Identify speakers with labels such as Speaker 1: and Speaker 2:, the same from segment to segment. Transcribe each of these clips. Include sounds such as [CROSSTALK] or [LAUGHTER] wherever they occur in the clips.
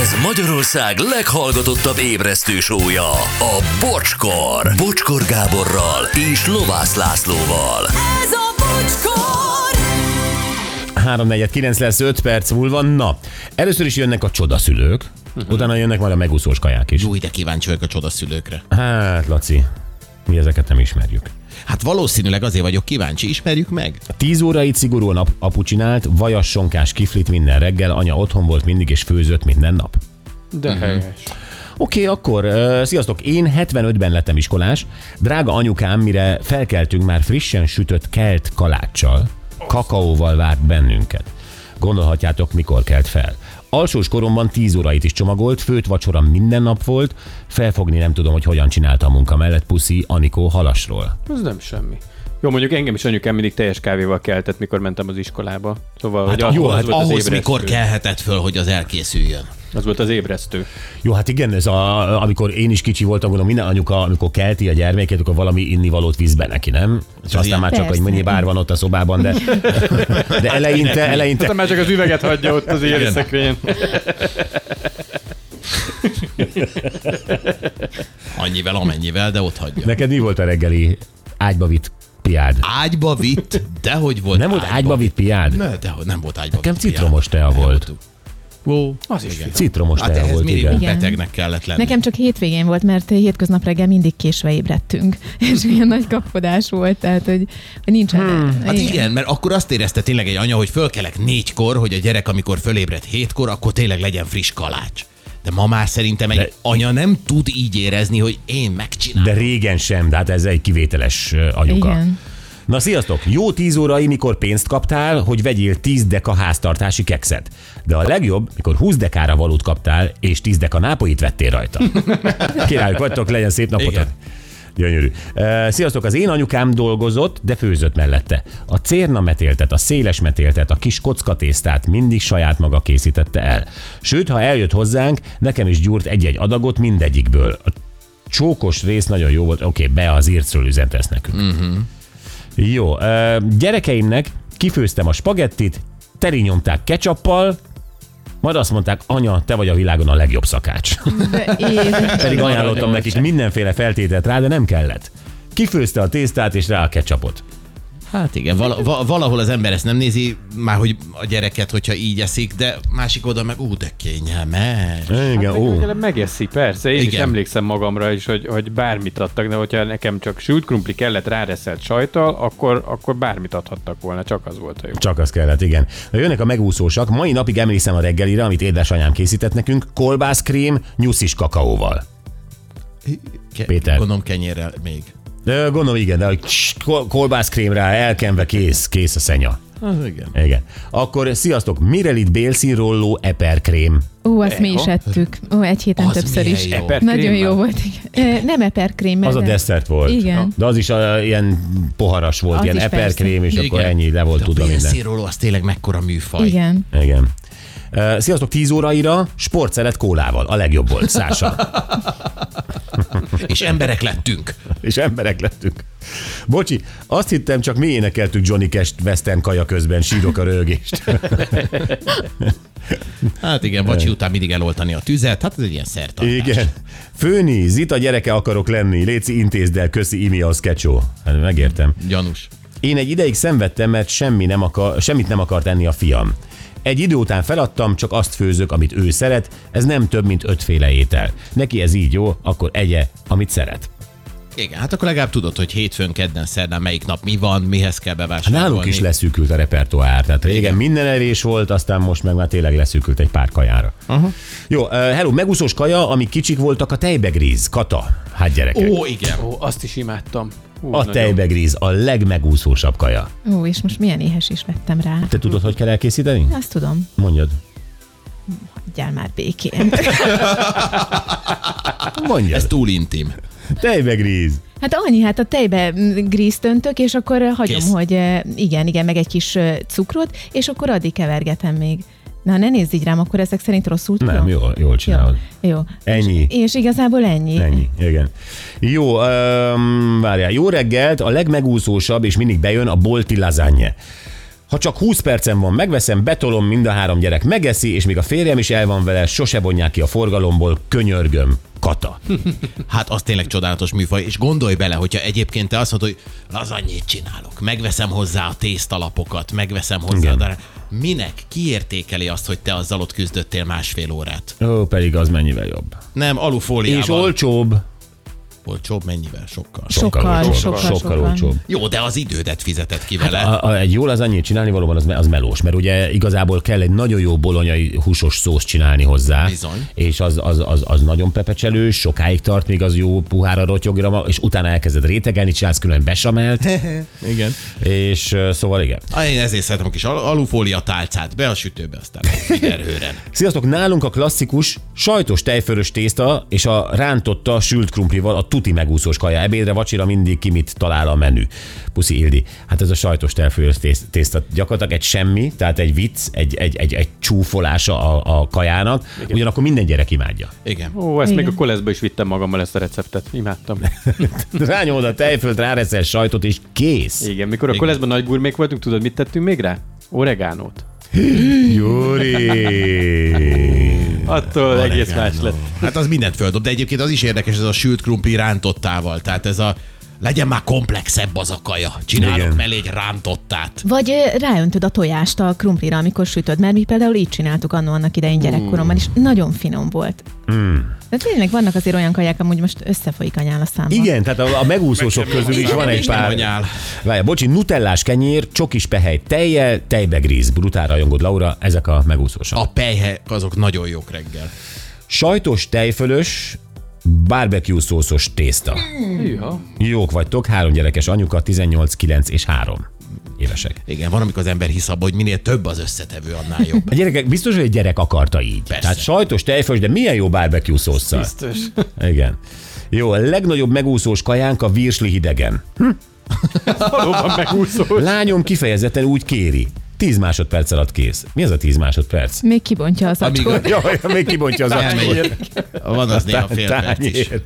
Speaker 1: Ez Magyarország leghallgatottabb ébresztő sója, a Bocskor. Bocskor Gáborral és Lovász Lászlóval.
Speaker 2: Ez a bocskor!
Speaker 3: 349 lesz 5 perc múlva. Na, először is jönnek a csodaszülők, utána jönnek majd a megúszós kaják is.
Speaker 4: Új, de kíváncsi vagyok a csodaszülőkre.
Speaker 3: Hát, Laci, mi ezeket nem ismerjük.
Speaker 4: Hát valószínűleg azért vagyok kíváncsi, ismerjük meg.
Speaker 3: 10 óráig szigorúan ap- apu csinált, vajas sonkás kiflit minden reggel, anya otthon volt mindig és főzött minden nap.
Speaker 4: Mhm.
Speaker 5: De helyes.
Speaker 3: Oké, okay, akkor uh, sziasztok, én 75-ben lettem iskolás. Drága anyukám, mire felkeltünk, már frissen sütött kelt kaláccsal, kakaóval várt bennünket. Gondolhatjátok, mikor kelt fel. Alsós koromban 10 órait is csomagolt, főt vacsora minden nap volt, felfogni nem tudom, hogy hogyan csinálta a munka mellett puszi Anikó Halasról.
Speaker 5: Ez nem semmi. Jó, mondjuk engem is anyukám mindig teljes kávéval keltett, mikor mentem az iskolába. Szóval, hát, hogy
Speaker 4: jó,
Speaker 5: az
Speaker 4: hát
Speaker 5: volt az
Speaker 4: ahhoz
Speaker 5: ébresztő.
Speaker 4: mikor kelhetett föl, hogy az elkészüljön.
Speaker 5: Az volt az ébresztő.
Speaker 3: Jó, hát igen, ez a, amikor én is kicsi voltam, gondolom minden anyuka, amikor kelti a gyermekét, akkor valami innivalót visz be neki, nem? És aztán
Speaker 4: ilyen. Hát
Speaker 3: már csak, hogy
Speaker 6: Persze.
Speaker 3: mennyi bár van ott a szobában,
Speaker 4: [LAUGHS]
Speaker 3: de, de eleinte, eleinte
Speaker 5: Aztán Hát már csak az üveget hagyja ott az éri szekrényen.
Speaker 4: Annyivel, amennyivel, de ott hagyja.
Speaker 3: Neked mi volt a reggeli ágyba vitt piád?
Speaker 4: Ágyba vitt, dehogy volt
Speaker 3: Nem volt ágyba vitt piád?
Speaker 4: Ne, dehogy nem volt ágyba
Speaker 3: Nekem
Speaker 4: vitt piád.
Speaker 3: citromos tea volt.
Speaker 4: Ó, az is
Speaker 3: Citromos
Speaker 4: Hát
Speaker 3: tea
Speaker 4: ehhez
Speaker 3: volt,
Speaker 4: minimum
Speaker 3: igen.
Speaker 6: Igen.
Speaker 4: betegnek kellett lenni.
Speaker 6: Nekem csak hétvégén volt, mert hétköznap reggel mindig késve ébredtünk, [LAUGHS] és ilyen nagy kapkodás volt, tehát hogy, hogy nincsen. Hmm.
Speaker 4: Hát igen, mert akkor azt érezte tényleg egy anya, hogy fölkelek négykor, hogy a gyerek, amikor fölébred hétkor, akkor tényleg legyen friss kalács. De ma már szerintem egy
Speaker 3: De-
Speaker 4: De... anya nem tud így érezni, hogy én megcsinálom.
Speaker 3: De régen sem, de hát ez egy kivételes ö, anyuka.
Speaker 6: Igen.
Speaker 3: Na sziasztok! Jó 10 órai, mikor pénzt kaptál, hogy vegyél 10 deka háztartási kekszet. De a legjobb, mikor 20 dekára valót kaptál, és 10 deka nápoit vettél rajta. Királyok vagytok, legyen szép napotok!
Speaker 4: Igen.
Speaker 3: Gyönyörű. Ö, Sziasztok, az én anyukám dolgozott, de főzött mellette. A cérna metéltet, a széles metéltet, a kis kockatésztát mindig saját maga készítette el. Sőt, ha eljött hozzánk, nekem is gyúrt egy-egy adagot mindegyikből. A csókos rész nagyon jó volt, oké, okay, be az írcről üzentesz nekünk. Jó, ö, gyerekeimnek kifőztem a spagettit, teli nyomták ketchuppal, majd azt mondták, anya, te vagy a világon a legjobb szakács.
Speaker 6: De én,
Speaker 3: Pedig ajánlottam nekik mindenféle feltételt rá, de nem kellett. Kifőzte a tésztát és rá a ketchupot.
Speaker 4: Hát igen, vala, va, valahol az ember ezt nem nézi, már hogy a gyereket, hogyha így eszik, de másik oldal meg ú, de kényelmes.
Speaker 3: Igen,
Speaker 5: Hát meg legalább megeszi, persze. Én is
Speaker 4: Igen.
Speaker 5: emlékszem magamra is, hogy, hogy bármit adtak, de hogyha nekem csak sült krumpli kellett ráreszelt sajtal, akkor, akkor bármit adhattak volna, csak az volt a jó.
Speaker 3: Csak az kellett, igen. Na, jönnek a megúszósak. Mai napig emlékszem a reggelire, amit édesanyám készített nekünk, kolbászkrém, nyuszis kakaóval.
Speaker 4: Ke-
Speaker 3: Péter.
Speaker 4: Gondolom kenyérrel még.
Speaker 3: De gondolom igen, de hogy css, kol- kolbászkrém rá, elkenve kész, kész a szenya.
Speaker 4: Hát igen.
Speaker 3: Igen. Akkor sziasztok, Mirelit bélszínrolló eperkrém.
Speaker 6: ó, azt mi is ettük. Ó, egy héten
Speaker 4: Az
Speaker 6: többször
Speaker 4: milyen
Speaker 6: is.
Speaker 4: jó.
Speaker 5: Eperkrémmel?
Speaker 6: Nagyon jó volt. Igen. Ö, Nem eperkrém,
Speaker 3: Az a desszert volt.
Speaker 6: Igen.
Speaker 3: De az is uh, ilyen poharas volt,
Speaker 6: Az
Speaker 3: ilyen
Speaker 6: is
Speaker 3: eperkrém, és
Speaker 4: persze.
Speaker 3: akkor
Speaker 4: Igen.
Speaker 3: ennyi le volt
Speaker 4: De
Speaker 3: tudva
Speaker 4: a
Speaker 3: minden.
Speaker 4: pénzszíróló az tényleg mekkora műfaj.
Speaker 6: Igen.
Speaker 3: Igen. Ö, Sziasztok, 10 óraira sportszelet kólával. A legjobb volt,
Speaker 4: [LAUGHS]
Speaker 3: Szása.
Speaker 4: És emberek lettünk.
Speaker 3: És emberek lettünk. Bocsi, azt hittem, csak mi énekeltük Johnny Cash-t Western kaja közben, sírok a rögést.
Speaker 4: Hát igen, vacsi után mindig eloltani a tüzet, hát ez egy ilyen szertartás.
Speaker 3: Igen. Főni, Zita gyereke akarok lenni, Léci intézd el, köszi Imi az kecsó. Hát megértem.
Speaker 4: Gyanús.
Speaker 3: Én egy ideig szenvedtem, mert semmi nem akar, semmit nem akart enni a fiam. Egy idő után feladtam, csak azt főzök, amit ő szeret, ez nem több, mint ötféle étel. Neki ez így jó, akkor egye, amit szeret.
Speaker 4: Igen, hát akkor legalább tudod, hogy hétfőn, kedden, szerdán melyik nap mi van, mihez kell bevásárolni.
Speaker 3: Hát Nálunk is leszűkült a repertoár, tehát régen Igen. minden erés volt, aztán most meg már tényleg leszűkült egy pár kajára. Aha. Jó, uh, hello, megúszós kaja, amik kicsik voltak, a tejbegríz, kata. Hát gyerekek,
Speaker 4: Ó, igen.
Speaker 5: Ó, azt is imádtam. Ú,
Speaker 3: a
Speaker 5: nagyon.
Speaker 3: tejbegríz a legmegúszósabb kaja.
Speaker 6: Ó, és most milyen éhes is vettem rá.
Speaker 3: Te tudod, hogy kell elkészíteni?
Speaker 6: Azt tudom,
Speaker 3: Mondjad.
Speaker 6: hagyjál már békén.
Speaker 3: Mondjad.
Speaker 4: Ez túl intim.
Speaker 3: Tejbegríz.
Speaker 6: Hát annyi, hát a tejbe mm, grízt öntök, és akkor hagyom,
Speaker 4: Kész.
Speaker 6: Kész. hogy eh, igen, igen, meg egy kis eh, cukrot, és akkor addig kevergetem még. Na, ne nézz így rám, akkor ezek szerint rosszul tudom?
Speaker 3: Nem, jól, jól csinálod.
Speaker 6: Jó. jó.
Speaker 3: Ennyi.
Speaker 6: És, és igazából ennyi.
Speaker 3: Ennyi, igen. Jó, um, várjál, jó reggelt, a legmegúszósabb, és mindig bejön a bolti lazánye. Ha csak 20 percem van, megveszem, betolom, mind a három gyerek megeszi, és még a férjem is el van vele, sose vonják ki a forgalomból, könyörgöm. Kata.
Speaker 4: Hát az tényleg csodálatos műfaj, és gondolj bele, hogyha egyébként te azt mondod, hogy lazanyét csinálok, megveszem hozzá a tésztalapokat, megveszem hozzá, de minek kiértékeli azt, hogy te azzal ott küzdöttél másfél órát?
Speaker 3: Ó, pedig az mennyivel jobb.
Speaker 4: Nem, alufóliában.
Speaker 3: És olcsóbb.
Speaker 4: olcsóbb mennyivel? Sokkal.
Speaker 6: Sokkal,
Speaker 3: olcsóbb.
Speaker 6: sokkal,
Speaker 3: sokkal
Speaker 6: sokkal.
Speaker 3: olcsóbb.
Speaker 4: Jó, de az idődet fizetett ki vele.
Speaker 3: Hát A, a, egy jól az annyit csinálni, valóban az, me- az melós, mert ugye igazából kell egy nagyon jó bolonyai húsos szószt csinálni hozzá.
Speaker 4: Bizony.
Speaker 3: És az, az, az, az nagyon pepecselős, sokáig tart, még az jó puhára rotyogra, ma- és utána elkezded rétegelni, csinálsz külön besamelt,
Speaker 4: [LAUGHS] Igen.
Speaker 3: és ö, szóval igen.
Speaker 4: Ah, Én ezért szeretem a kis al- alufólia tálcát, be a sütőbe, aztán erőren.
Speaker 3: Sziasztok, nálunk a klasszikus sajtos tejfölös tészta és a rántotta sült krumplival a tuti megúszós kaja. Ebédre, vacsira mindig ki mit talál a menü. Puszi Ildi. Hát ez a sajtos tejfölös tész- tészta gyakorlatilag egy semmi, tehát egy vicc, egy, egy, egy, egy csúfolása a, a kajának, ugyanakkor minden gyerek imádja.
Speaker 4: Igen.
Speaker 5: Ó, ezt
Speaker 6: Igen.
Speaker 5: még a koleszba is vittem magammal ezt a receptet. Imádtam.
Speaker 3: Rányomod a tejfölt, ráreszel sajtot, és kész.
Speaker 5: Igen, mikor a koleszban nagy gurmék voltunk, tudod, mit tettünk még rá? Oregánót.
Speaker 3: Júri!
Speaker 5: Attól egész
Speaker 4: Oregano.
Speaker 5: más lett.
Speaker 4: Hát az mindent földob, de egyébként az is érdekes ez a sült krumpli rántottával. Tehát ez a legyen már komplexebb az a kaja. Csinálok
Speaker 3: Igen.
Speaker 4: mellé egy rántottát.
Speaker 6: Vagy ö, ráöntöd a tojást a krumplira, amikor sütöd, mert mi például így csináltuk annó annak idején
Speaker 3: Hmm.
Speaker 6: gyerekkoromban, és nagyon finom volt. De tényleg vannak azért olyan kaják, amúgy most összefolyik anyál a számba.
Speaker 3: Igen, tehát a, a megúszósok közül is van egy
Speaker 4: Isten
Speaker 3: pár.
Speaker 4: anyál.
Speaker 3: Várjál, bocsi, nutellás kenyér, csokis pehely tejjel, tejbe gríz. Brutál rajongod, Laura, ezek a megúszósak. A
Speaker 4: A pejhek azok nagyon jók reggel.
Speaker 3: sajtos tejfölös, barbecue szószos tészta.
Speaker 5: Hűha.
Speaker 3: Jók vagytok, három gyerekes anyuka, 18, 9 és 3 évesek.
Speaker 4: Igen, van, amikor az ember hisz abba, hogy minél több az összetevő, annál
Speaker 3: [LAUGHS]
Speaker 4: jobb.
Speaker 3: A gyerekek, biztos, hogy egy gyerek akarta így.
Speaker 4: Persze.
Speaker 3: Tehát sajtos tejfölös, de milyen jó barbecue szószal.
Speaker 5: Biztos.
Speaker 3: Igen. Jó, a legnagyobb megúszós kajánk a virsli hidegen.
Speaker 5: Valóban megúszó.
Speaker 3: Lányom kifejezetten úgy kéri. 10 másodperc alatt kész. Mi az a 10 másodperc?
Speaker 6: Még kibontja az
Speaker 4: Amíg
Speaker 6: acskót.
Speaker 4: a-
Speaker 3: Jaj, hát még kibontja az acskót.
Speaker 4: Elmegy. Van az néha fél perc is.
Speaker 3: Tányér.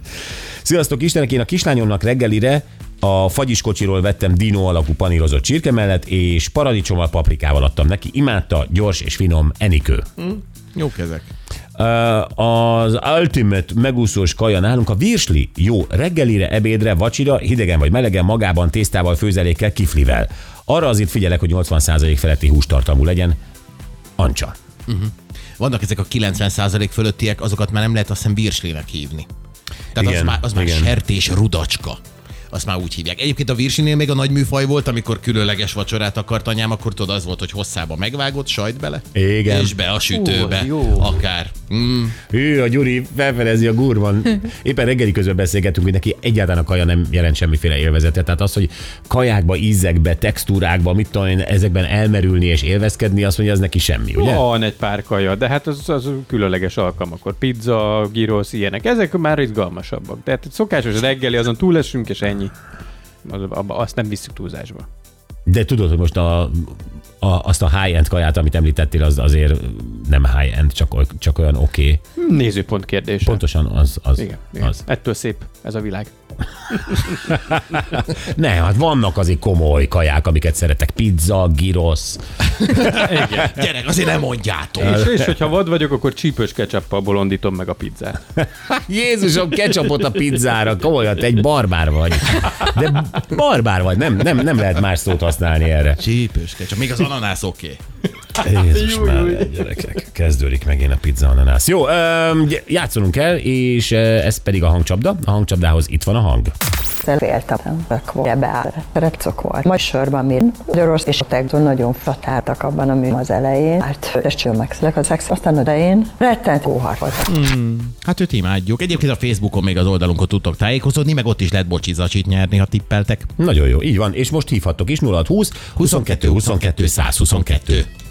Speaker 3: Sziasztok, Istenek, én a kislányomnak reggelire a fagyis kocsiról vettem dinó alakú panírozott csirke mellett, és paradicsommal, paprikával adtam neki. Imádta, gyors és finom enikő.
Speaker 4: Jó kezek.
Speaker 3: Ö, Az ultimate megúszós kaja nálunk a virsli. Jó, reggelire, ebédre, vacsira, hidegen vagy melegen, magában, tésztával, főzelékkel, kiflivel. Arra azért figyelek, hogy 80% feletti hústartalmú legyen. Ancsa.
Speaker 4: Vannak ezek a 90% fölöttiek, azokat már nem lehet azt hiszem virslének hívni. Tehát
Speaker 3: Igen,
Speaker 4: az már, az már
Speaker 3: igen.
Speaker 4: sertés rudacska. Azt már úgy hívják. Egyébként a virsinél még a nagy műfaj volt, amikor különleges vacsorát akart anyám, akkor tudod, az volt, hogy hosszába megvágott, sajt bele,
Speaker 3: Igen.
Speaker 4: és be a sütőbe,
Speaker 5: Ó, jó.
Speaker 4: akár. Mm,
Speaker 3: Ő, a Gyuri felfedezi a gurvan.
Speaker 5: [LAUGHS]
Speaker 3: Éppen reggeli közben beszélgettünk, hogy neki egyáltalán a kaja nem jelent semmiféle élvezetet. Tehát az, hogy kajákba, ízekbe, textúrákba, mit tudom én, ezekben elmerülni és élvezkedni, azt mondja, az neki semmi, ugye?
Speaker 5: Van egy pár kaja, de hát az, az különleges alkalom, akkor pizza, gyrosz, ilyenek. Ezek már izgalmasabbak. Tehát egy szokásos reggeli, azon túlesünk, és ennyi. Az, abba- azt nem visszük túlzásba.
Speaker 3: De tudod, hogy most a, a, azt a high-end kaját, amit említettél, az azért nem high-end, csak, oly- csak olyan oké. Okay.
Speaker 5: Nézőpont kérdése.
Speaker 3: Pontosan az. az,
Speaker 5: Igen, igen.
Speaker 3: Hmm. az.
Speaker 5: Az. Ettől szép ez a világ.
Speaker 3: Ne, hát vannak azért komoly kaják, amiket szeretek. Pizza, girosz.
Speaker 4: gyerek, azért nem mondjátok.
Speaker 5: És, és hogyha vad vagyok, akkor csípős ketchuppal bolondítom meg a pizzát.
Speaker 3: Jézusom, ketchupot a pizzára, komolyan, te egy barbár vagy. De barbár vagy, nem, nem, nem lehet más szót használni erre.
Speaker 4: Csípős, csak még az ananász oké. Okay.
Speaker 3: Jézus már, gyerekek, kezdődik megint a pizza ananász. Jó, öm, gy- játszolunk el, és ö, ez pedig a hangcsapda. A hangcsapdához itt van a hang.
Speaker 7: Szeréltem, beáll, repcok volt. Majd sorban mi Gyorosz és a Tegdon nagyon fatáltak abban a mű az elején. Hát és csőmegszülek a szex, aztán odején rettent kóhar volt.
Speaker 4: Hát őt imádjuk. Egyébként a Facebookon még az oldalunkon tudtok tájékozódni, meg ott is lehet bocsizacsit nyerni, ha tippeltek.
Speaker 3: Nagyon jó, így van, és most hívhattok is 0620 22 22 122.